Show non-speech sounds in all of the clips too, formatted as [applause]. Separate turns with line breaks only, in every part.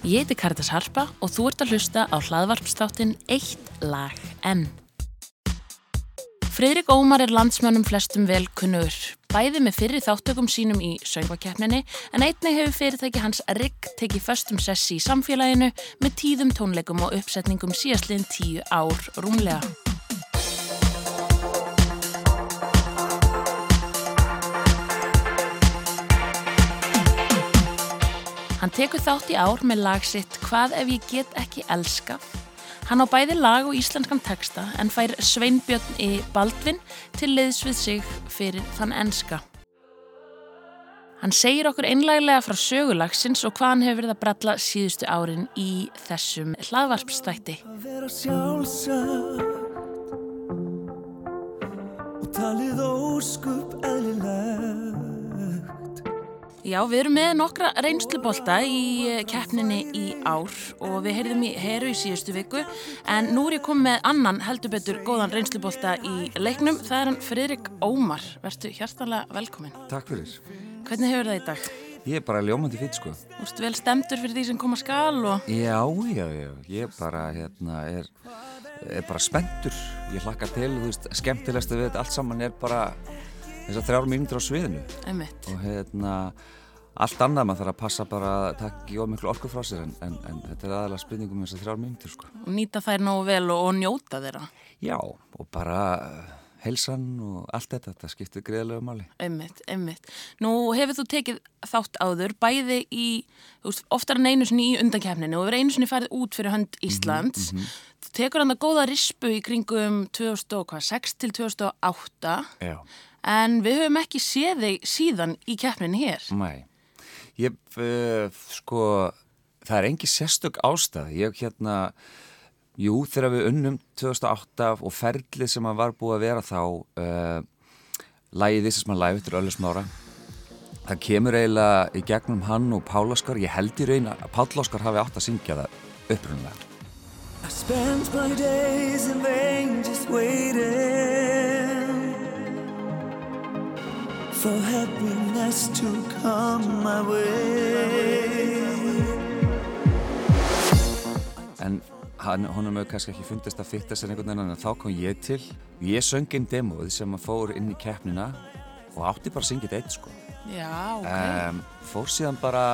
Ég heiti Karitas Harpa og þú ert að hlusta á hlaðvarpstáttin Eitt lag enn. Freyrik Ómar er landsmönnum flestum vel kunnur, bæði með fyrri þáttökum sínum í söngvakeppninni en einnig hefur fyrirtæki hans Rigg tekið föstum sessi í samfélaginu með tíðum tónleikum og uppsetningum síðastliðin tíu ár rúmlega. Hann tekur þátt í ár með lag sitt Hvað ef ég get ekki elska. Hann á bæði lag og íslenskan texta en fær Sveinbjörn í Baldvin til liðs við sig fyrir þann enska. Hann segir okkur einlæglega frá sögulagsins og hvað hann hefur verið að bralla síðustu árin í þessum hlaðvarpstætti.
Að vera sjálfsagt og talið óskup eðlilegt
Já, við erum með nokkra reynslubolta í eh, keppninni í ár og við heyrðum í heru í síðustu viku en nú er ég komið með annan heldur betur góðan reynslubolta í leiknum. Það er hann Friðrik Ómar. Vertu hjartanlega velkomin.
Takk fyrir.
Hvernig hefur það í dag?
Ég er bara ljómandi fýtt sko.
Úrstu vel stemdur fyrir því sem koma skal og
Já, já, já. Ég bara, hérna, er, er bara spenntur. Ég hlakka til, þú veist, skemmtilegsta við þetta allt saman er bara þessar þrjár mínútur á sviðinu.
einmitt.
Og hérna, allt annað maður þarf að passa bara að taka ekki of miklu orku frá sér en, en, en þetta er aðalega spurningum með þessar þrjár mínútur sko.
Og nýta þær nógu vel og, og njóta þeirra.
Já, og bara eh, heilsan og allt þetta, þetta skiptir greiðlega máli.
Einmitt, einmitt. Nú hefur þú tekið þátt áður bæði í, þú veist, oftar en einu sinni í undankefninu og verið einu sinni farið út fyrir hönd
Mhm,
Íslands. Þú tekur hann að góða rispu í kringum 2006 til 2008
Já.
en við höfum ekki séð þig síðan í keppninu hér.
Nei, ég, uh, sko, það er engi sérstök ástæð. Ég hérna, jú, þegar við unnum 2008 og ferlið sem að var búið að vera þá, uh, lægið This is my life, þetta er Öllu Smára. Það kemur eiginlega í gegnum hann og Páll Óskar. Ég held í raun að Páll Óskar hafi átt að syngja það upprunalega.
I spend my days in vain just waiting for happiness to come my way
en hann, honum hefur kannski ekki fundist að fitta sér einhvern veginn en þá kom ég til ég söng einn demóð sem að fór inn í keppnina og átti bara að syngja þetta eitt sko
Já, ok.
um, fór síðan bara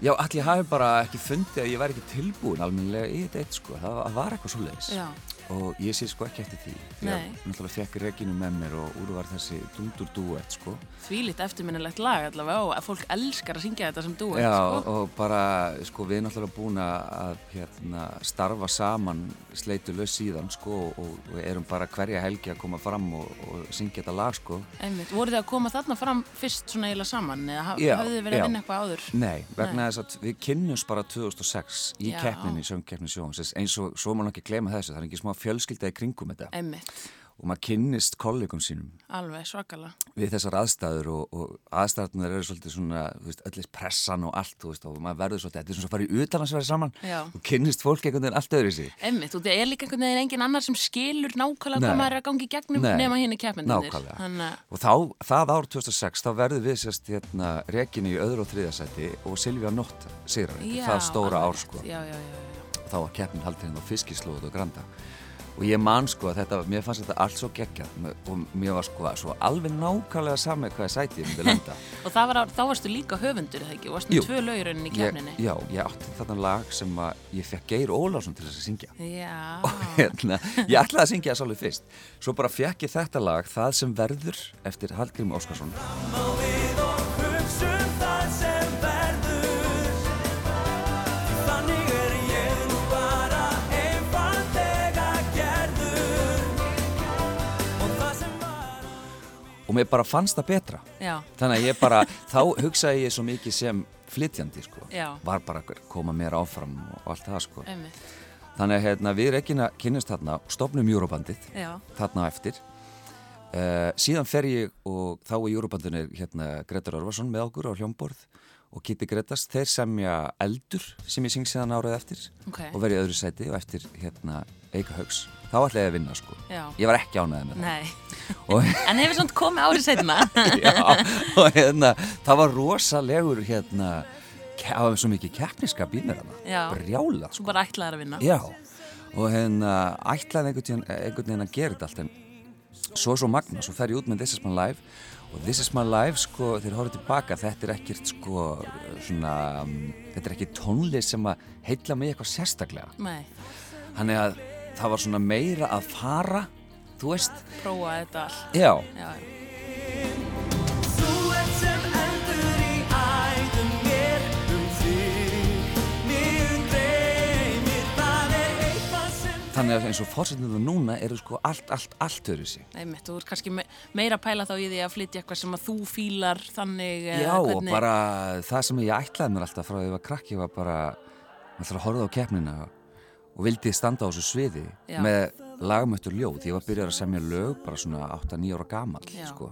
já, allir hafi bara ekki fundið að ég væri ekki tilbúin almennilega í þetta eitt sko það var- var eitthvað svo
Já.
og ég sé sko ekki eftir því því að
Nei.
náttúrulega fekk reginu með mér og úr var þessi dundur duett sko
Þvílitt eftirminnilegt lag allavega og að fólk elskar að syngja þetta sem þú
Já,
sko.
og bara, sko, við erum náttúrulega búin að hérna, starfa saman sleitu laus síðan, sko, og, og erum bara hverja helgi að koma fram og, og syngja þetta lag, sko.
Einmitt. Voru þið að koma þarna fram fyrst svona eiginlega saman eða haf-
Já,
hafið þið verið
já.
að vinna eitthvað áður?
Nei, vegna
Nei.
þess að við kynnumst bara 2006 í
Já.
keppninni, söngkeppni sjónsins, eins og svo má hann ekki glema þessu, það er ekki smá fjölskylda í kringum þetta.
Einmitt,
Og maður kynnist kollegum sínum
alveg svakalega.
við þessar aðstæður og, og aðstæðarnar eru svolítið svona, þú veist, öllis pressan og allt, þú veist, og maður verður svolítið, þetta er svona að fara í utanhansverði saman
Já.
og kynnist fólk einhvern veginn allt öðru
Einmitt, og það er líka einhvern veginn engin annar sem skilur nákvæmlega
Nei.
hvað maður er að gangi í gegnum
Nei,
nema hérna keppendunir.
nákvæmlega.
Þannig að,
Og þá, það ár 2006, þá verður við sérst hérna rekin í öðru og þriðasæti og Silvía Nótt sigrar þetta,
já,
það stóra ár
alveg
sko.
rétt. Já, já, já, já.
Þá var keppnin haldið hérna á fiskislóð og granda. Og ég man sko að þetta, mér fannst þetta allt svo geggjað m- og mér var sko, svo alveg nákvæmlega sami hvað ég sæti ég
[laughs]
myndi landa.
Og það var, á- þá varstu líka höfundur, eða ekki? Og varstu
Jú.
með tvö lög í rauninni í
ég,
keppninni?
já, ég átti þarna lag sem að ég fekk Geir Ólásson til þess að syngja.
Já,
[laughs] hérna, ég ætlaði að syngja það svolítið fyrst svo bara fekk ég þetta lag Það sem verður eftir Hallgrim Óskarsson
Má við og hugsum það sem verður Þannig er ég nú bara einfaldlega gerður Og það sem var
og mér bara fannst það betra
já,
Þannig að ég bara, þá hugsaði ég svo mikið sem flytjandi, sko.
Já.
Var bara að koma mér áfram og allt það, sko.
einmitt.
Þannig að hérna, við rekkina kynnumst þarna, stopnum Júróbandið,
Já.
þarna á eftir. Uh, síðan fer ég og þá er Júróbandinu hérna Gretar Örvarsson með okkur á hljómborð og Kitty Gretas, þeir semja Eldur sem ég syng síðan árað eftir
Ok.
og verið öðru sæti og eftir hérna Eika Haugs. Þá ætlaði ég að vinna, sko.
Já.
Ég var ekki ánæðið með það.
Nei.
Og,
En hefur svona
[laughs]
komið árið setna?
Já, og hérna, það var rosalegur hérna það var svo mikið keppniskap í mér hana
Já.
brjála
Svo
sko.
bara ætlaðir að vinna.
já, og hérna ætlaði einhvern veginn, einhvern veginn að gera þetta allt en svo er svo magna, svo fer ég út með This is my life og This is my life, sko, þegar ég horfði tilbaka þetta er ekkert, sko, svona um, þetta er ekki tónlist sem að heilla mig eitthvað sérstaklega
Nei,
þannig að það var svona meira að fara, þú veist
prófa þetta all.
já,
Já, já.
Þú ert sem eldur í æðum mér um þig Mér dreymir, það er eitthvað sem
þannig að eins og fórsetnum það núna eru sko allt, allt, allt öðru sig
Nei, mitt, þú ert kannski me meira að pæla þá í því að flytja eitthvað sem að þú fílar þannig eða
Já, og
hvernig-
bara það sem ég ætlaði mér alltaf frá því að ég var krakki var bara maður ætlaði að horfa á keppnina og vildi standa á þessu sviði
Já.
með lagmöttur ljóð. Ég var byrjar að semja lög bara svona 8-9 ára gamall,
Já.
sko.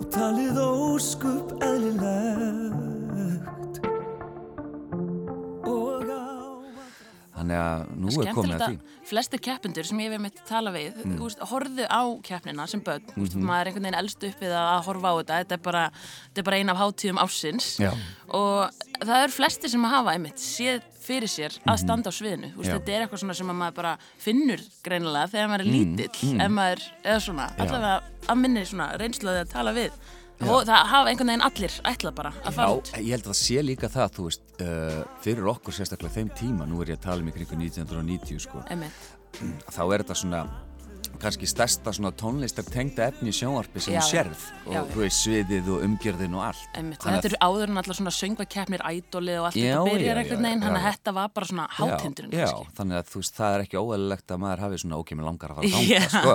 Og talið óskup eðlilegt Og á
Þannig að nú er komið
skemmtilegt
að
að
því.
flestir keppendur sem ég hef meitt að tala við mm. úst, horfðu á keppnina sem börn úst,
Mhm.
maður er einhvern veginn elst upp við að horfa á þetta þetta er bara, þetta er bara ein af hátíðum ársins
Já.
og það eru flestir sem að hafa einmitt séð fyrir sér að standa á sviðinu úst,
Mhm. Já. Mm,
þetta er eitthvað svona sem að maður bara finnur greinilega þegar maður er lítill ef maður, eða svona, allavega að minni svona reynsluði að tala við og það hafa einhvern veginn allir ætlað bara að fara út
Já, ég held að það sé líka það, þú veist, uh, fyrir okkur sérstaklega þeim tíma, nú er ég að tala um ykkur 1990, sko.
einmitt,
þá er þetta svona kannski stærsta svona tónlistar tengda efni í sjónvarpi sem
Já,
þú
já.
sérð og
Já, já.
þú veist sviðið og umgjörðin og allt
einmitt.
Þannig að
þetta eru áður en allar svona söngvakeppnir ædolið og allt
Já,
þetta
já,
byrjar
já,
einhvern veginn
já,
þannig að
já.
þetta var bara svona hátindurinn
já,
kannski.
já, þannig að þú veist, það er ekki óæðilegt að maður hafi svona ókemi langar að fara að
Já.
ganga sko.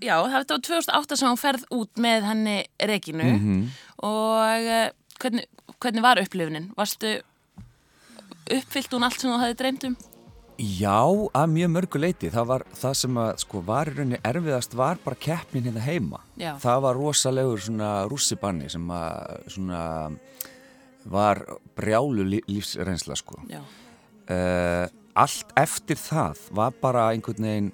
Já, þetta var 2008 sem hún ferð út með henni Regínu
Mhm.
og eh, hvernig, hvernig var upplifunin? Varstu uppfyllt hún allt sem þú hafði dreymt um?
já, að mjög mörgu leiti það var það sem að sko, var í rauninni erfiðast var bara keppnin hérna heima
Já.
það var rosalegur svona rússibanni sem að svona var brjálu lí- lífsreynsla sko.
Já,
uh, allt eftir það var bara einhvern veginn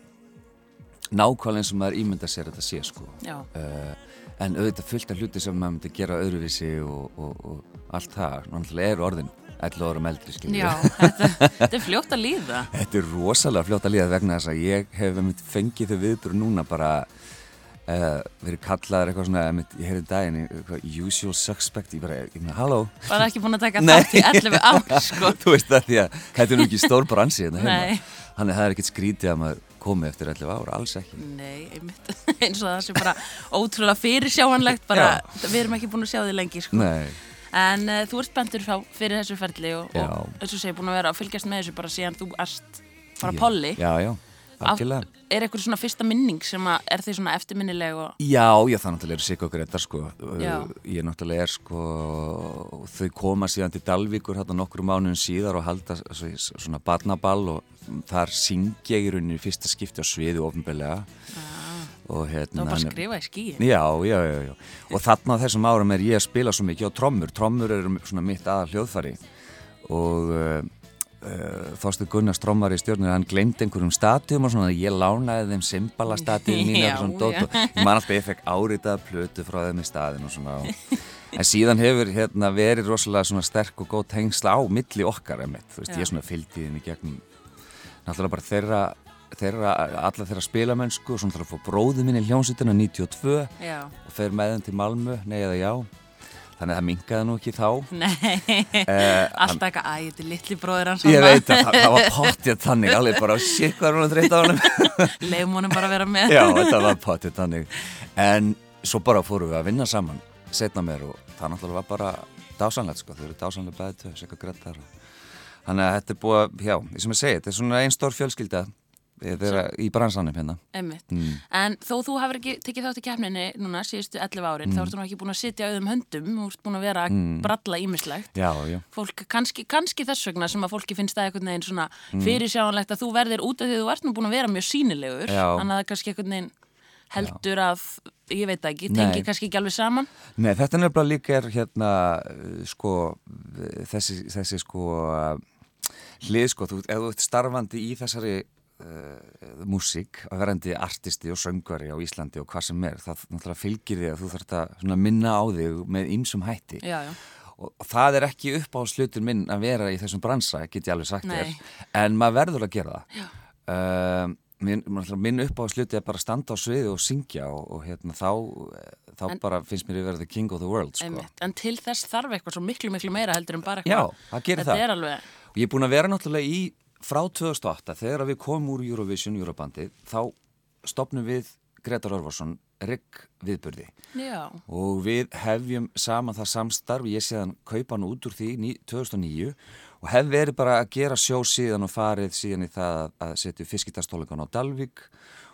nákvæmlega eins og maður ímynda sér að þetta sé sko.
já,
uh, en auðvitað fullt af hluti sem maður myndi gera öðruvísi og, og, og allt það, náttúrulega eru orðin 11 árum eldri skiljum [laughs]
já þetta, þetta er fljótt að líða
Þetta er rosalega fljótt að líða vegna þess að ég hef einmitt fengið þau viðbrú núna bara uh, verið kallaður eitthvað svona, einmitt, ég heyrði daginn eitthvað, usual suspect, ég bara, ég meina, halló [laughs]
Var ekki búin að taka
Nei.
þátt í
[laughs]
11 ár sko
þú veist það því að þetta er nú ekki stór bransi hérna
Nei.
heima, þannig að það er ekkert skrítið að maður komi eftir 11 ára, alls ekki
Nei, einmitt, [laughs] eins og það sé bara ótrúlega fyrirsjáanlegt bara, við erum ekki búin að sjá því lengi sko
Nei,
En uh, þú ert spenntur frá, fyrir þessu ferli og, og
Já.
eins og segja búin að vera að fylgjast með þessu bara síðan þú erst bara
Ég-
polli.
Já, já,
Átt-
algjörlega
Er eitthvað svona fyrsta minning sem að er því svona eftirminnileg og
Já, já, það náttúrulega eru Sigga og Gretar sko,
Já.
Uh, ég náttúrulega er sko, þau koma síðan til Dalvíkur hérna nokkur mánuðin síðar og halda s- s- svona barnaball og þar syng ég í rauninni í fyrsta skipti á sviði ofinbelega og
það var Ah.
hérna
bara að skrifa í skíin?
Já, já, já, já. Og þarna á þessum árum er ég að spila svo mikið á trommur. Trommur eru svona mitt aðal hljóðfari. Og uh, uh, Þorstu Gunnars trommar í stjórnir, hann glemdi einhverjum statjum og svona, ég lánaði þeim simbala statjum mín
Já,
og svona dót
já.
og ég man alltaf að ég fekk áritaða plötu frá þeim í staðin og svona. Og, en síðan hefur hérna verið rosalega svona sterk og góð tengsla á milli okkar, emitt. Þú veist,
Já.
ég svona fylgdi þeim í gegnum náttúrulega bara þeirra, þeirra alla þeirra spilamennsku og svona þarf að fá bróðu minni hljónsutina 92
Já.
og fer með þeim til Malmö, nei eða já þannig að það mingaði nú ekki þá
Nei, [laughs] alltaf eitthvað, æ, þetta er litli bróðir hans
Eh, ég veit [laughs] að það, það var pottið þannig alveg bara sér hvað er hún að þreytta á honum
[laughs] Leifum honum bara að vera með.
[laughs] já, þetta var pottið þannig en svo bara fórum við að vinna saman setna mér og það náttúrulega var bara dásanlegt sko, þau eru dásanlega bæði tvö sér hvað grætt þar þannig að þetta er búið, að- já, eins og ég segi þetta er svona einn stór fjölskylda eh, þeirra í bransanum hérna
Einmitt. En þó þú hefur ekki tekið þátt í keppninni núna síðustu 11 árin,
Mm.
þá ertu nú ekki búin að sitja auðum höndum, þú ert búin að vera að bralla ímislegt.
já, já
fólk, kannski, kannski þess vegna sem að fólki finnst það einhvern veginn svona
Mm.
fyrirsjáanlegt að þú verðir út af því að þú ert nú búin að vera mjög sínilegur
Já.
þannig að það kannski einhvern veginn heldur að ég veit það ekki,
Nei.
tengi kannski ekki alveg saman
Nei, þetta nefnilega líka er hérna uh, sko uh, þessi, þessi sko uh, hlið sko, þú, ef þú ert starfandi í þessari uh, músík að verandi artisti og söngvari á Íslandi og hvað sem er, það náttúrulega fylgir þig að þú þarf að svona, minna á þig með ýmsum hætti
já, já,
og, og það er ekki upp á slutur minn að vera í þessum bransa, get ég alveg sagt
Nei.
þér en maður verður að gera það uh, minn, náttúrulega minn upp á sluti er bara að standa á sviði og syngja og, og hérna þá, þá bara finnst mér ég verið the king of the world sko.
Einmitt. En til þess þarf eitthvað svo miklu, miklu meira heldur en bara
Já,
eitthvað.
það gerir
Þetta
það.
er alveg,
Og ég er búin að vera náttúrulega í frá 2008 þegar við komum úr Eurovision Eurobandi þá stopnum við Gretar Örvarsson Rigg viðburði
já,
og við hefjum saman það samstarf, ég sé hann kaupa hann út úr því ní- 2009 og hef verið bara að gera sjó síðan og farið síðan í það að- að setja fiskitastólíkan á Dalvík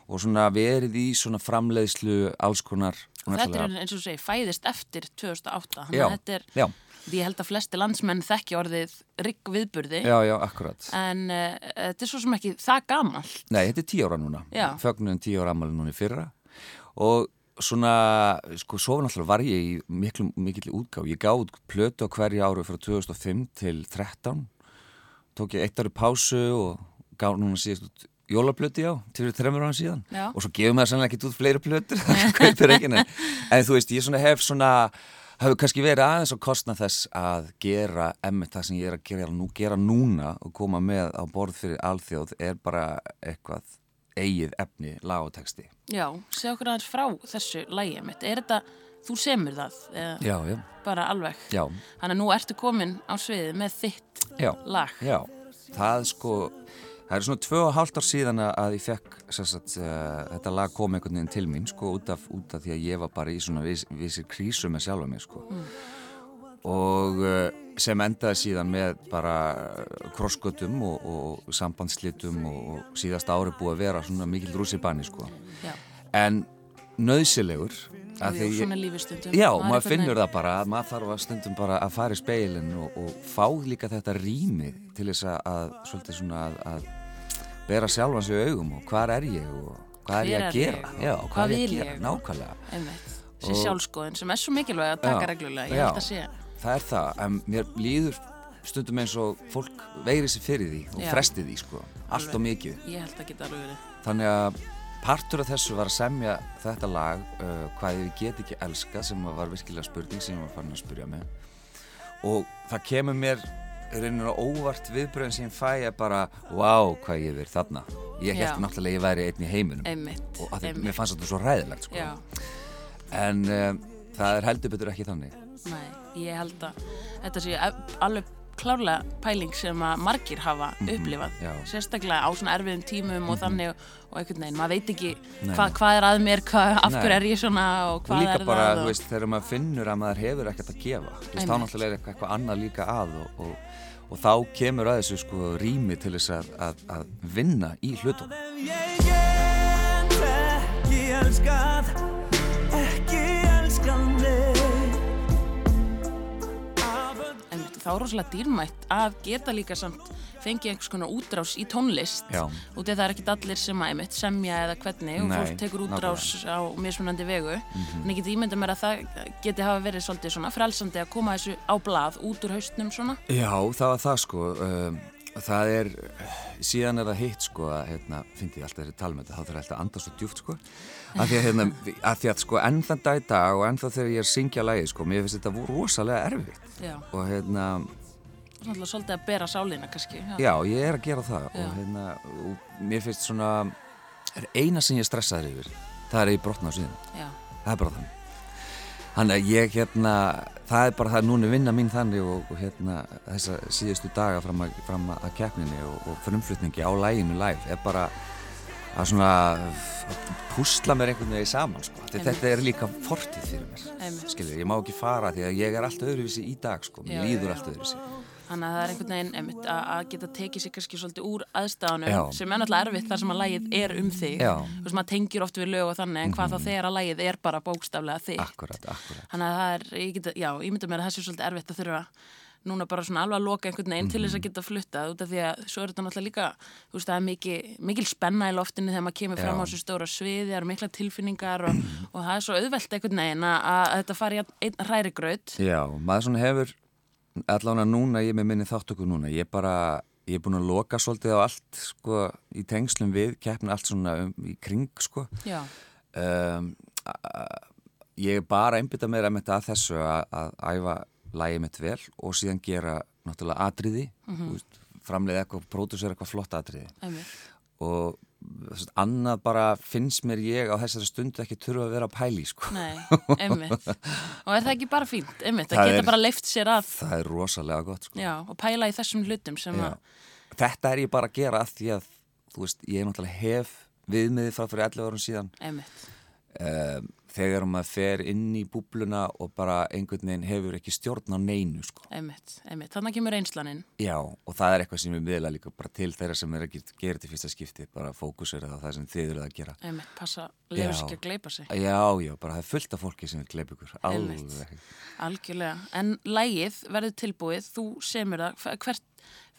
og svona verið í svona framleiðslu alls konar og
þetta
náttúrulega-
er eins og þú segir, fæðist eftir 2008. Þannig
Já,
að þetta er,
já.
því ég held að flesti landsmenn þekki orðið rigg viðburði,
Já, já, akkurat.
en uh, þetta er svo sem ekki það gamalt.
Nei, þetta er tíu ára núna.
Já.
Fögnum tíu ára ammali núna í fyrra. Og svona, sko, svo var náttúrulega var ég í miklu, mikil útgáf. Ég gáð plötu á hverju áru frá 2005 til 13. Tók ég eitt ári pásu og gáð núna síðast út jólaplöti á, til þreymur ára síðan.
Já.
Og svo gefum maður sannlega ekki út fleiri plötur, [laughs] kaupir ekki, nei. En þú veist, ég svona hef svona, hafi kannski verið aðeins á kostna þess að gera emmitt það sem ég er að gera, nú, gera núna og koma með á borð fyrir alþjóð er bara eitthvað eigið efni, lag og texti.
Já, segja okkur aðeins frá þessu lægi mitt. Er þetta, þú semur það? eða
Já, já.
Bara alveg.
Já.
Þannig að nú ertu komin á sviðið með þitt
Já.
lag.
Já, það sko, það er svona tvö og hálft ár síðan að- að ég fekk sagt, uh, þetta lag kom einhvern veginn til mín sko, út af, út af því að ég var bara í svona viss, vissir krísu með sjálfa mig sko. og uh, sem endaði síðan með bara krosskötum og, og sambandslitum og, og síðast ári búið að vera svona mikil rúsi banni sko.
Já.
en nöðsilegur
Af
að
því
því
svona
ég-
lífistundum.
Já, maður finnur það bara að maður þarf að stundum bara að fara í speilin og, og fá líka þetta rými til þess að, að svolítið svona að, að bera sjálfan sig í augum og hvað er ég og hvað er ég
Hver
að
er
gera?
ég?
Já,
Hvað
hvað er
vil
ég að gera?
ég?
Nákvæmlega.
Einmitt. Sér
Og-
sjálfskoðin sem er svo mikilvæg að taka
Já.
reglulega. Ég held að sé.
Já, það er það, en mér líður stundum eins og fólk veigri sér fyrir því og
Já.
fresti því sko, allt og mikið.
Ég held að geta alveg verið.
Þannig að partur af þessu var að semja þetta lag uh, Hvað ég get ekki elska sem að var virkilega spurning sem ég var farin að spurja mig og það kemur mér reynir á óvart viðbröðin sem ég fæ að bara, wow, hvað ég er verið þarna ég
Já.
held náttúrulega að ég væri einn í heiminum
Einmitt.
og að því,
einmitt.
mér fannst þetta svo ræðilegt sko.
Já.
en um, það er heldur betur ekki þannig
Nei, ég held að þetta sé alveg klárlega pæling sem að margir hafa upplifað
Mhm, já. Mhm.
sérstaklega á svona erfiðum tímum og þannig og, og einhvern veginn, maður veit ekki
Nei,
hvað,
nei.
hvað er að mér, hvað, af
Nei.
hverju er ég svona og hvað
og líka
er
bara,
það
þú
og,
veist, þegar maður finnur að maður hefur ekkert að gefa þú veist, þá
Einmitt.
náttúrulega er eitthvað, eitthvað annað líka að og, og, og þá kemur að þessu sko rými til þess að, að, að vinna í hlutum
Ef ég get ekki elskað, ekki elskað mig Af öll
einmitt, þá er rosalega dýrmætt að geta líka samt fengið einhvers konar útrás í tónlist
Já.
og því að það er ekkit allir sem að einmitt semja eða hvernig og
Nei, Mhm.
fólk tekur útrás á mismunandi vegu en ég geti ímyndað mér að það geti hafa verið svolítið svona frelsandi að koma þessu á blað út úr haustnum svona
Já, það var það sko um, það er, síðan er það hitt sko að, hérna, fyndi ég alltaf þeirri tala með þetta þá þarf ég alltaf að anda svo djúft sko af því að, hérna, af því að sko enn þann dag í dag og enn þá þegar ég er að syngja lagið sko mér finnst þetta vo- rosalega erfitt
Já.
og hérna,
Náttúrulega svolítið að bera sálina kannski. Já.
Já, ég er að gera það
Já.
og, hérna, og mér finnst svona er eina sem ég stressaður yfir það er að ég brotna á síðan,
Já.
það er bara þannig Þannig að ég hérna það er bara það, núna er vinna mín þannig og, og hérna þessa síðustu daga fram að, fram að að keppninni og, og frumflutningi á læginu live er bara að svona að púsla mér einhvern veginn saman sko. Þetta-
Einmitt.
þetta er líka fortið fyrir mér
Einmitt.
skilur, ég má ekki fara því að ég er allt öðruvísi í dag sko,
Já,
mér líður
já.
allt öðruvísi
Þannig að það er einhvern veginn einmitt, að, að geta tekið sér kannski svolítið úr aðstæðanum
Já.
sem er náttúrulega erfitt þar sem að lægið er um þig.
Já. Mhm.
Þú veist, maður tengir oft við lög og þannig en hvað þá þegar að lægið er bara bókstaflega þig.
Akkurat, akkurat
Þannig að það er, ég geta, já, ég myndi mér að það sé svolítið erfitt að þurfa núna bara svona alveg að loka einhvern veginn til þess
Mhm.
að geta fluttað út af því að svo er þetta náttúrulega líka, þú veist, það er mikil, mikil spenna í loftinu þegar maður kemur fram á
Já. Mhm.
þessu stóra sviði, það eru mikla tilfinningar og, og það er svo auðvelt einhvern veginn að, að þetta fari einn hrærigraut.
Já, maður svona hefur allan að núna, ég er með minni þáttöku núna ég er bara, ég er búin að loka svolítið á allt, sko, í tengslum við keppna allt svona um, í kring, sko Ehm,
Já,
um, a- a- ég er bara einbytta mér að þetta að þessu að, að æfa lægið mitt vel og síðan gera náttúrulega atriði mm -hmm. framleiða eitthvað, pródúsera eitthvað flott atriði
einmitt.
og þess, annað bara finnst mér ég á þessari stundu ekki þurfa að vera að pæli sko. [laughs]
Nei, einmitt. Og er það ekki bara fínt, einmitt, að
Það
geta
er-
bara leift sér að
það er rosalega gott sko.
já, og pæla í þessum hlutum sem
Já.
að,
Hérna, þetta er ég bara að gera af því að þú veist, ég náttúrulega hef viðmiðið frá fyrir 11 árum síðan
einmitt,
um, þegar maður fer inn í búbluna og bara einhvern veginn hefur ekki stjórn á neinu sko.
einmitt, einmitt. Þannig kemur reynslanin.
Já, og það er eitthvað sem ég miðla líka bara til þeirra sem er að gera- gera þetta í fyrsta skipti bara fókusera það á það sem þið eruð að gera
Einmitt, passa, lefur sér ekki að gleipa sig.
Já, já, bara það er fullt af fólki sem vil gleipa ykkur
Einmitt.
alveg
Algjörlega. En lægið verður tilbúið, þú semur það, Hva- hvert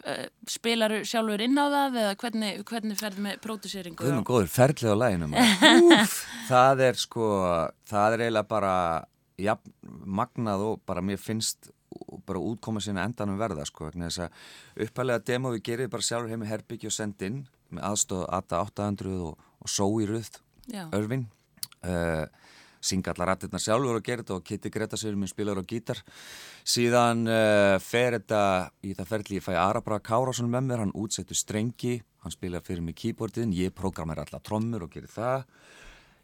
uh, spilaru sjálfur inn á það eða hvernig, hvernig ferðu með próduseringu?
Guðmund góður, ferlið á læginu maður. Úff, Það er sko, það er eiginlega bara ja, magnað og bara mér finnst og bara útkoma sína endanum verða sko, vegna þess að upphælega demo við gerir bara sjálfur heim í herbyggju og send inn með aðstoð ATA 800 og, og Sói Ruð,
Já.
Örvin uh, synga allar rættirnar sjálfur og gerir þetta og Kitty Greta sér minn spilar á gítar síðan uh, fer þetta í það ferli ég fæ Arabra Kárásson með mér hann útsettur strengi, hann spila fyrir mig keyboardin, ég programmer allar trommur og gerir það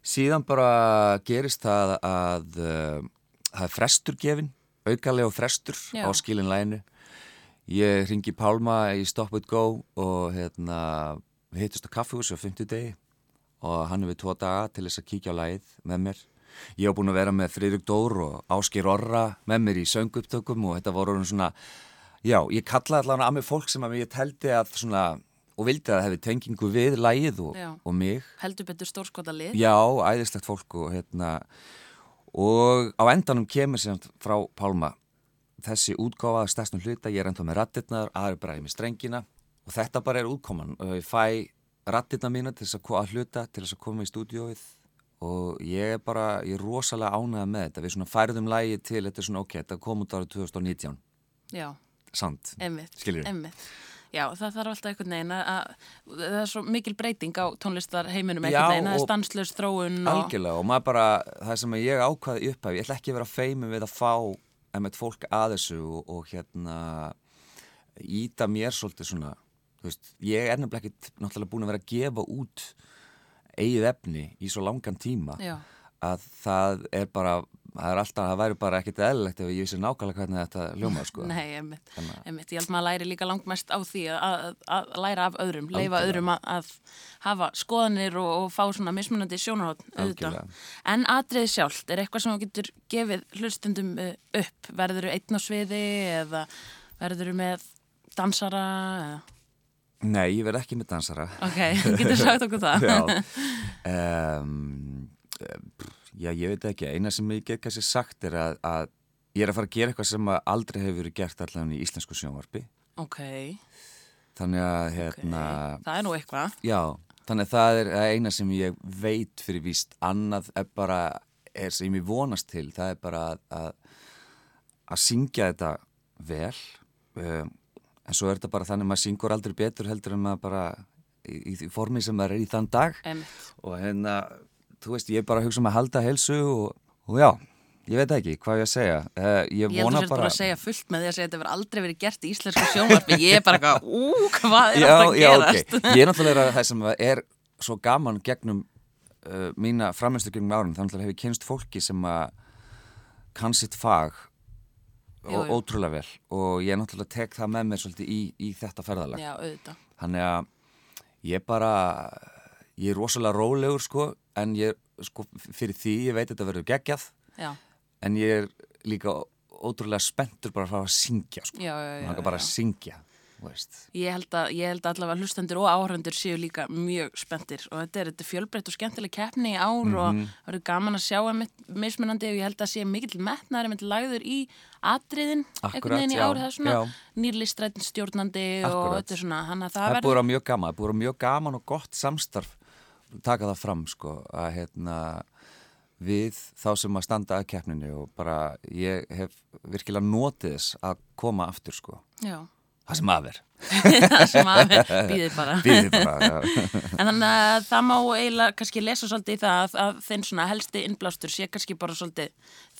síðan bara gerist það að uh, það er frestur gefin aukalega frestur
Já.
á skilin læginu ég ringi Pálma í Stop It Go og hérna við hittist á kaffihúsi á 50 degi og hann er við tvo daga til þess að kíkja á lægið með mér ég hef búin að vera með Friðrik Dór og Áskir Orra með mér í söngupptökum og þetta voru orðin svona já, ég kallaði allavega að mig fólk sem að ég teldi að svona og vildi að það hefði tengingu við lægið og,
Já.
og mig
Heldur betur stórskota lið?
Já, æðislegt fólk og hérna og á endanum kemur sem sagt frá Pálma þessi útgáfa að stærstum hluta, ég er ennþá með rattirnar, aðri bara ég með strengina og þetta bara er útkoman og ég fæ rattirna mína til þess að, ko- að hluta til þess að koma í stúdíóið og ég er bara, ég er rosalega ánægð með þetta, við svona færðum lægi til þetta er svona ok, þetta kom út árið 2019
Já.
sant,
Einmitt.
Skilurðu?
Einmitt. Já, það þarf alltaf einhvern veginn að, að, það er svo mikil breyting á tónlistarheiminum
Já,
einhvern veginn, það er
og-
stanslöst þróun og...
algjörlega og maður bara, það sem ég ákvaði upp af ég ætla ekki að vera feimin við að fá einmitt fólk að þessu og, og hérna íta mér svolítið svona þú veist, ég er nefnilega ekki náttúrulega búin að vera að gefa út eigið efni í svo langan tíma
Já,
að það er bara það er alltaf, það væri bara ekkit eðlilegt ef ég vissi nákvæmlega hvernig þetta ljómaði sko
nei, einmitt.
Þannig að-
einmitt. Ég held maður læri líka langmest á því að, að, að læra af öðrum, leifa
Algjörlega.
öðrum að, að hafa skoðanir og, og fá svona mismunandi sjónarhótt auðvitað.
Algjörlega.
En atriði sjálft, er eitthvað sem þú getur gefið hlustendum eh, upp? Verður þú einn á sviði eða verður þú með dansara? Eða?
Nei, ég verð ekki með dansara
Ok, [laughs] getur sagt okkur það? [laughs]
já. Um, já, ég veit ekki. Eina sem ég get kannski sagt er að, að ég er að fara að gera eitthvað sem að aldrei hefur verið gert allan í íslensku sjónvarpi.
Ok,
Þannig að,
ok.
hérna,
það er nú eitthvað.
já, þannig að það er það eina sem ég veit fyrir víst. Annað er bara, er sem ég vonast til, það er bara að, að, að syngja þetta vel. Um, en svo er þetta bara þannig að maður syngur aldrei betur heldur en maður bara í, í því formi sem maður er í þann dag
Einmitt.
og hérna, þú veist, ég er bara að hugsa um að halda helsu og, og já, ég veit ekki hvað ég að segja. Uh, ég,
Ég heldur
vona
sér bara
bara...
að segja fullt með því að segja að þetta verður aldrei verið gert í íslensku sjónvarpi. Ég er bara eitthvað, ú, hvað er alltaf að
já,
gerast?
ok. Ég er náttúrulega það sem er svo gaman gegnum uh, mína framhengslu gegnum árum, þannig að hef ég kynst fólki sem að kann sitt fag
Jú,
og
jú.
ótrúlega vel og ég náttúrulega tek það með mér svolítið í, í þetta ferðalag.
Já, auðvitað.
Þannig að ég bara, ég er rosalega rólegur sko, en ég er sko fyrir því, ég veit að þetta verður geggjað,
Já,
en ég er líka ó- ótrúlega spenntur bara að fara að syngja sko.
já, já.
Mér
já,
langar
já,
bara að syngja þú veist.
Ég held, að, ég held allavega að hlustendur og áhörundur séu líka mjög spenntir og þetta er, þetta er fjölbreytt og skemmtileg keppni í ár
Mhm.
og það verður gaman að sjá einmitt mismunandi og ég held að sé mikill metnar einmitt lagður í atriðin
Akkúrat,
veginn í
já,
ár, það er svona
já.
nýrlistrætin stjórnandi og
Akkúrat.
þetta er svona, hann að það
það er
verður
búið að vera mjög gaman, það er búið að vera mjög gaman og gott samstarf taka það fram sko að hérna við þá sem að standa að keppninu og bara ég hef virkilega notið þess að koma aftur sko
Já, [laughs]
það sem af er
það sem
[laughs]
að býðir bara
býðið bara já.
En þannig að það má eiginlega kannski lesa svolítið í það að, að þinn svona helsti innblástur sé kannski bara svolítið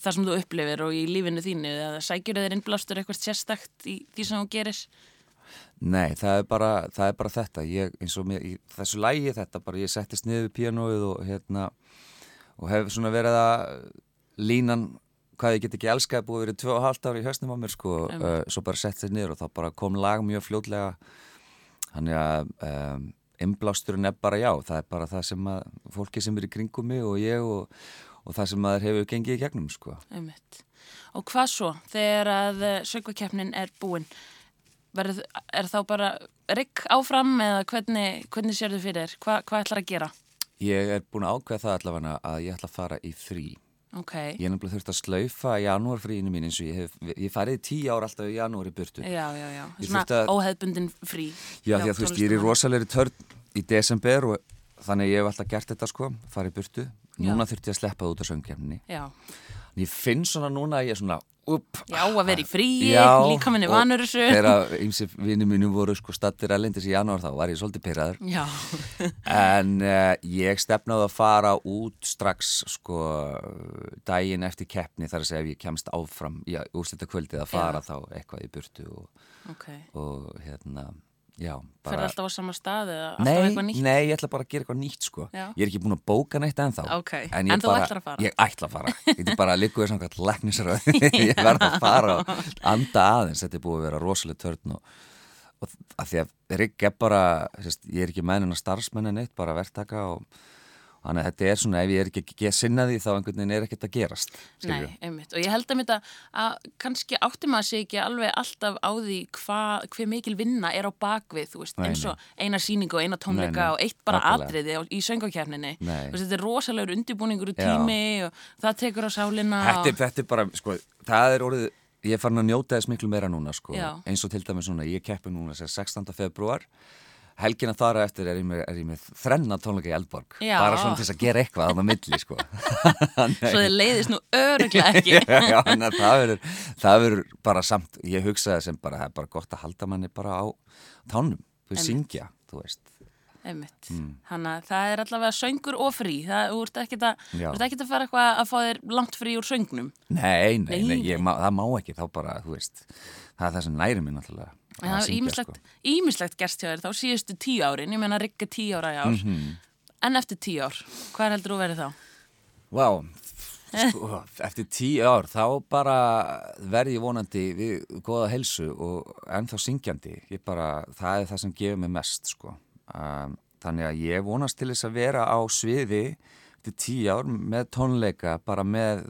það sem þú upplifir og í lífinu þínu eða sækjur þeir innblástur eitthvað sérstakt í því sem þú gerir
Nei, það er bara, það er bara þetta ég, eins og mér, í þessu lægi þetta bara ég settist niður við píanóið og hérna og hef svona verið að línan hvað ég get ekki elskað búið verið tvö og halvt ári í höstnum á mér sko, uh, svo bara settist niður og þá bara kom lag mjög fljótlega þannig að um, innblásturinn er bara já, það er bara það sem að fólki sem er í kringum mig og ég og, og það sem maður hefur gengið í gegnum sko.
Einmitt. Og hvað svo þegar að sögvakeppnin er búin? Verð, er þá bara rigg áfram eða hvernig, hvernig sérðu fyrir þér? Hva, hvað ætlar að gera?
Ég er búin að ákveða það allavega að ég ætla að fara í frí
Ok,
Ég er nefnilega þurft að slaufa janúarfríinu mín eins og ég hef, ég farið í tíu ár alltaf í janúar í burtu.
já, já, já.
Ég
Svona
þurfti að-
óheðbundin frí.
Já,
hjá
því að þú veist, ég er í
tónlistarmanni.
rosalegri törn í desember og þannig að ég hef alltaf gert þetta sko, farið í burtu. Núna þurfti ég að sleppa það út af söngkjæmni.
Já,
Ég finn svona núna að ég er svona, upp.
Já, að vera í fríi,
Já,
líkaminn er
og
vanur þessu.
Þegar ímsi vinnum mínum voru sko stattir erlendis í janúar þá var ég svolítið pyrraður.
já,
En uh, ég stefnaði að fara út strax sko daginn eftir keppni þar að segja ef ég kemst áfram í úrslita kvöldið að fara þá eitthvað í burtu og,
ok.
og hérna, já.
Ferðu alltaf á sama stað eða alltaf
Nei,
eitthvað nýtt?
nei, ég ætla bara að gera eitthvað nýtt sko
Já.
Ég er ekki búin að bóka neitt ennþá
Ok,
ég
en þú
bara,
ætlar að fara?
Ég ætla
[laughs]
að fara, þetta er bara að líka þess að hvað læknisröð [laughs] Ég verð að fara og anda aðeins Þetta er búið að vera rosalega törn og, og að því að Rigg er bara sérst, Ég er ekki mennin að starfsmenni neitt, bara verktaka og Þannig að þetta er svona, ef ég er ekki ekki að sinna því þá einhvern veginn er ekkert að gerast skilurðu.
Nei, einmitt. Og ég held að mynda að kannski átti maður sig ekki alveg alltaf á því hva, hver mikil vinna er á bakvið, þú veist,
Nei,
eins og eina síningu og eina tónleika
Nei, nei.
og eitt bara
Nákvæmlega.
atriði á- í söngakefninni.
Nei.
Þetta er rosalegur undirbúningur og
Já.
tími og það tekur á sálinna.
þetta, er- þetta er bara, sko, það er orðið ég er farin að njóta þess miklu meira núna sko.
Já.
eins og til dæmis núna, ég keppi núna sem 16. februar helgina þar á eftir er ég með, er ég með þrenna tónleika í Eldborg
Já.
bara svona til þess að gera eitthvað þannig að milli sko.
og svo þið leiðist nú öruglega [laughs] ekki.
[laughs] Já, þannig að það verður- það verður bara samt ég hugsaði sem bara, það er bara gott að halda manni bara á tánum, þú veist, syngja þú veist,
Einmitt.
Mm.
Þannig að það er allavega söngur og frí. Það, þú ert ekkert að,
Já.
þú ert ekkert að fara eitthvað að fá þér langt frí úr söngnum.
nei, nei, nei,
Nei,
ég, má, það má ekki þá bara, þú veist, það er það sem næri minn náttúrulega
En
að
það er
syngja, sko.
ímislegt, ímislegt gerst hjá þér þá síðustu tíu árin, ég meina rigga tíu ára í ár,
Mhm.
en eftir tíu ár, hvað heldur þú verið þá?
Vá, sko, eftir tíu ár þá bara verð ég vonandi við goða helsu og ennþá syngjandi. Ég bara, það er það sem gefur mig mest, sko. Um, þannig að ég vonast til þess að vera á sviði eftir tíu ár með tónleika, bara með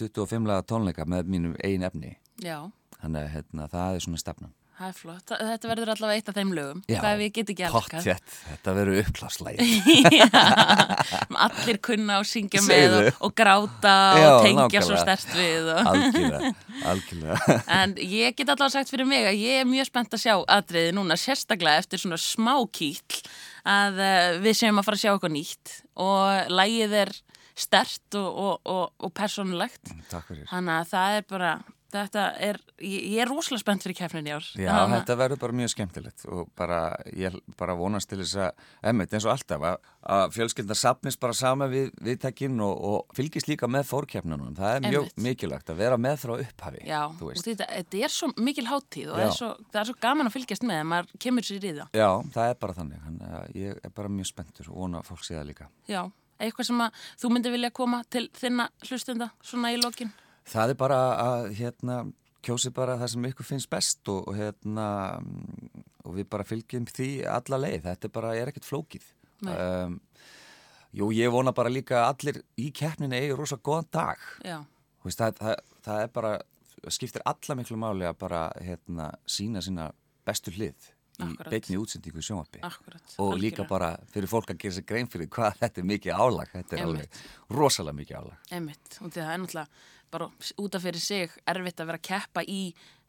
25 laga tónleika með mínum eigin efni.
Já,
Þannig að hérna, það er svona stefnum.
það er flott, Þa- þetta verður allavega eitt af þeim lögum, hvað ef ég get ekki [laughs] elskað?
Pottþétt, þetta verður uppkláslæg.
Allir kunna og syngja
Segðu.
með og, og gráta
Já,
og tengja svo
nákvæmlega.
stert við og...
algjörlega, algjörlega.
En ég get allavega sagt fyrir mig að ég er mjög spennt að sjá atriði núna, sérstaklega eftir svona smá kýll að eh, við séum að fara að sjá eitthvað nýtt og lægið er stert og, og, og, og persónulegt.
Takk fyrir.
Þannig að það er bara, þetta er, ég, ég er rosalega spennt fyrir keppnin í ár.
Já,
Þannig að-
þetta verður bara mjög skemmtilegt og bara, ég bara vonast til þess að, emmitt eins og alltaf, að, að fjölskyldar sapnist bara sama við viðtækin og, og fylgist líka með fórkeppnunum. Það er mjög
Einmitt.
mikilvægt að vera með frá upphafi,
Já,
þú
og
veist.
þetta, þetta er svo mikil hátíð og
Já.
það er, svo, það er svo gaman að fylgjast með að maður kemur sér í það.
Já, það er bara þannig. Hann, ég er bara mjög spenntur og vona að fólk sé það líka.
Já, eitthvað sem að þú myndir vilja koma til þinna hlustenda svona í lokin.
Það er bara að, hérna, kjósi bara það sem ykkur finnst best og, og hérna, mm, og við bara fylgjum því alla leið. Þetta er bara, er ekkert flókið.
Nei.
Um, jú, ég vona bara líka að allir í keppninu eigi rosa góðan dag.
Já,
Þú veist, það, það, það er bara, skiptir alla miklu máli að bara, hérna, sína sína bestu hlið í
Akkúrat.
beinni útsendingu í sjónvarpi.
akkurat.
Og líka
algjörlega.
bara fyrir fólk að gera sér grein fyrir hvað þetta er mikið álag. Þetta er
Einmitt.
alveg rosalega mikið álag.
Einmitt, og því það er náttúrulega bara út af fyrir sig erfitt að vera að keppa í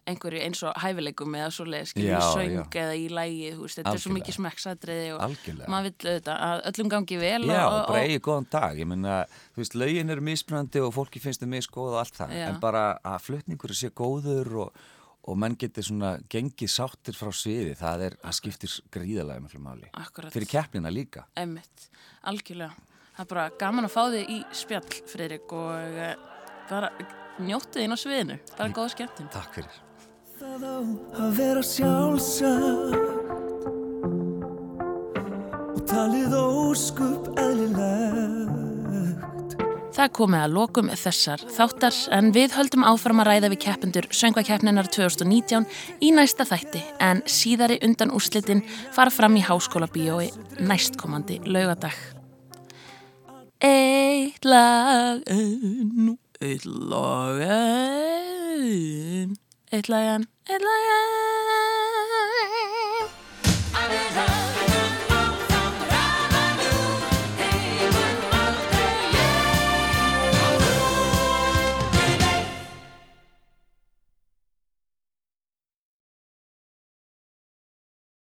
einhverju eins og hæfileikum eða svo leið, skiljum í
Já,
söng eða í lægi, þú veist, þetta er svo
Algjörlega.
mikið smekksatriði og
Algjörlega.
maður vill auðvitað að öllum gangi vel
Já,
og,
og bara
og,
eigi góðan dag. Ég meina, þú veist, lögin eru mismunandi og fólki finnst þau misgóð og allt það.
Já.
En bara að flutningur sé góður og, og menn getur svona gengið sáttir frá sviði, það er, það skiptir gríðalega miklu máli.
Akkurat.
Fyrir keppnina líka.
Emmitt, algjörlega. Það er bara gaman að fá þig í spjall, Friðrik, og eh, bara njóttu þín á sviðinu. Bara góða skemmtum.
Takk fyrir.
Það á að vera sjálfsagt og talið óskup eðlilegt.
Það er komið að lokum þessar þáttar en við höldum áfram að ræða við keppendur söngvakeppninar 2019 í næsta þætti en síðari undan úrslitin fara fram í háskóla bíói næstkomandi laugadag. Eitt lag enn, eitt lag enn, eitt lag enn, eitt lag enn.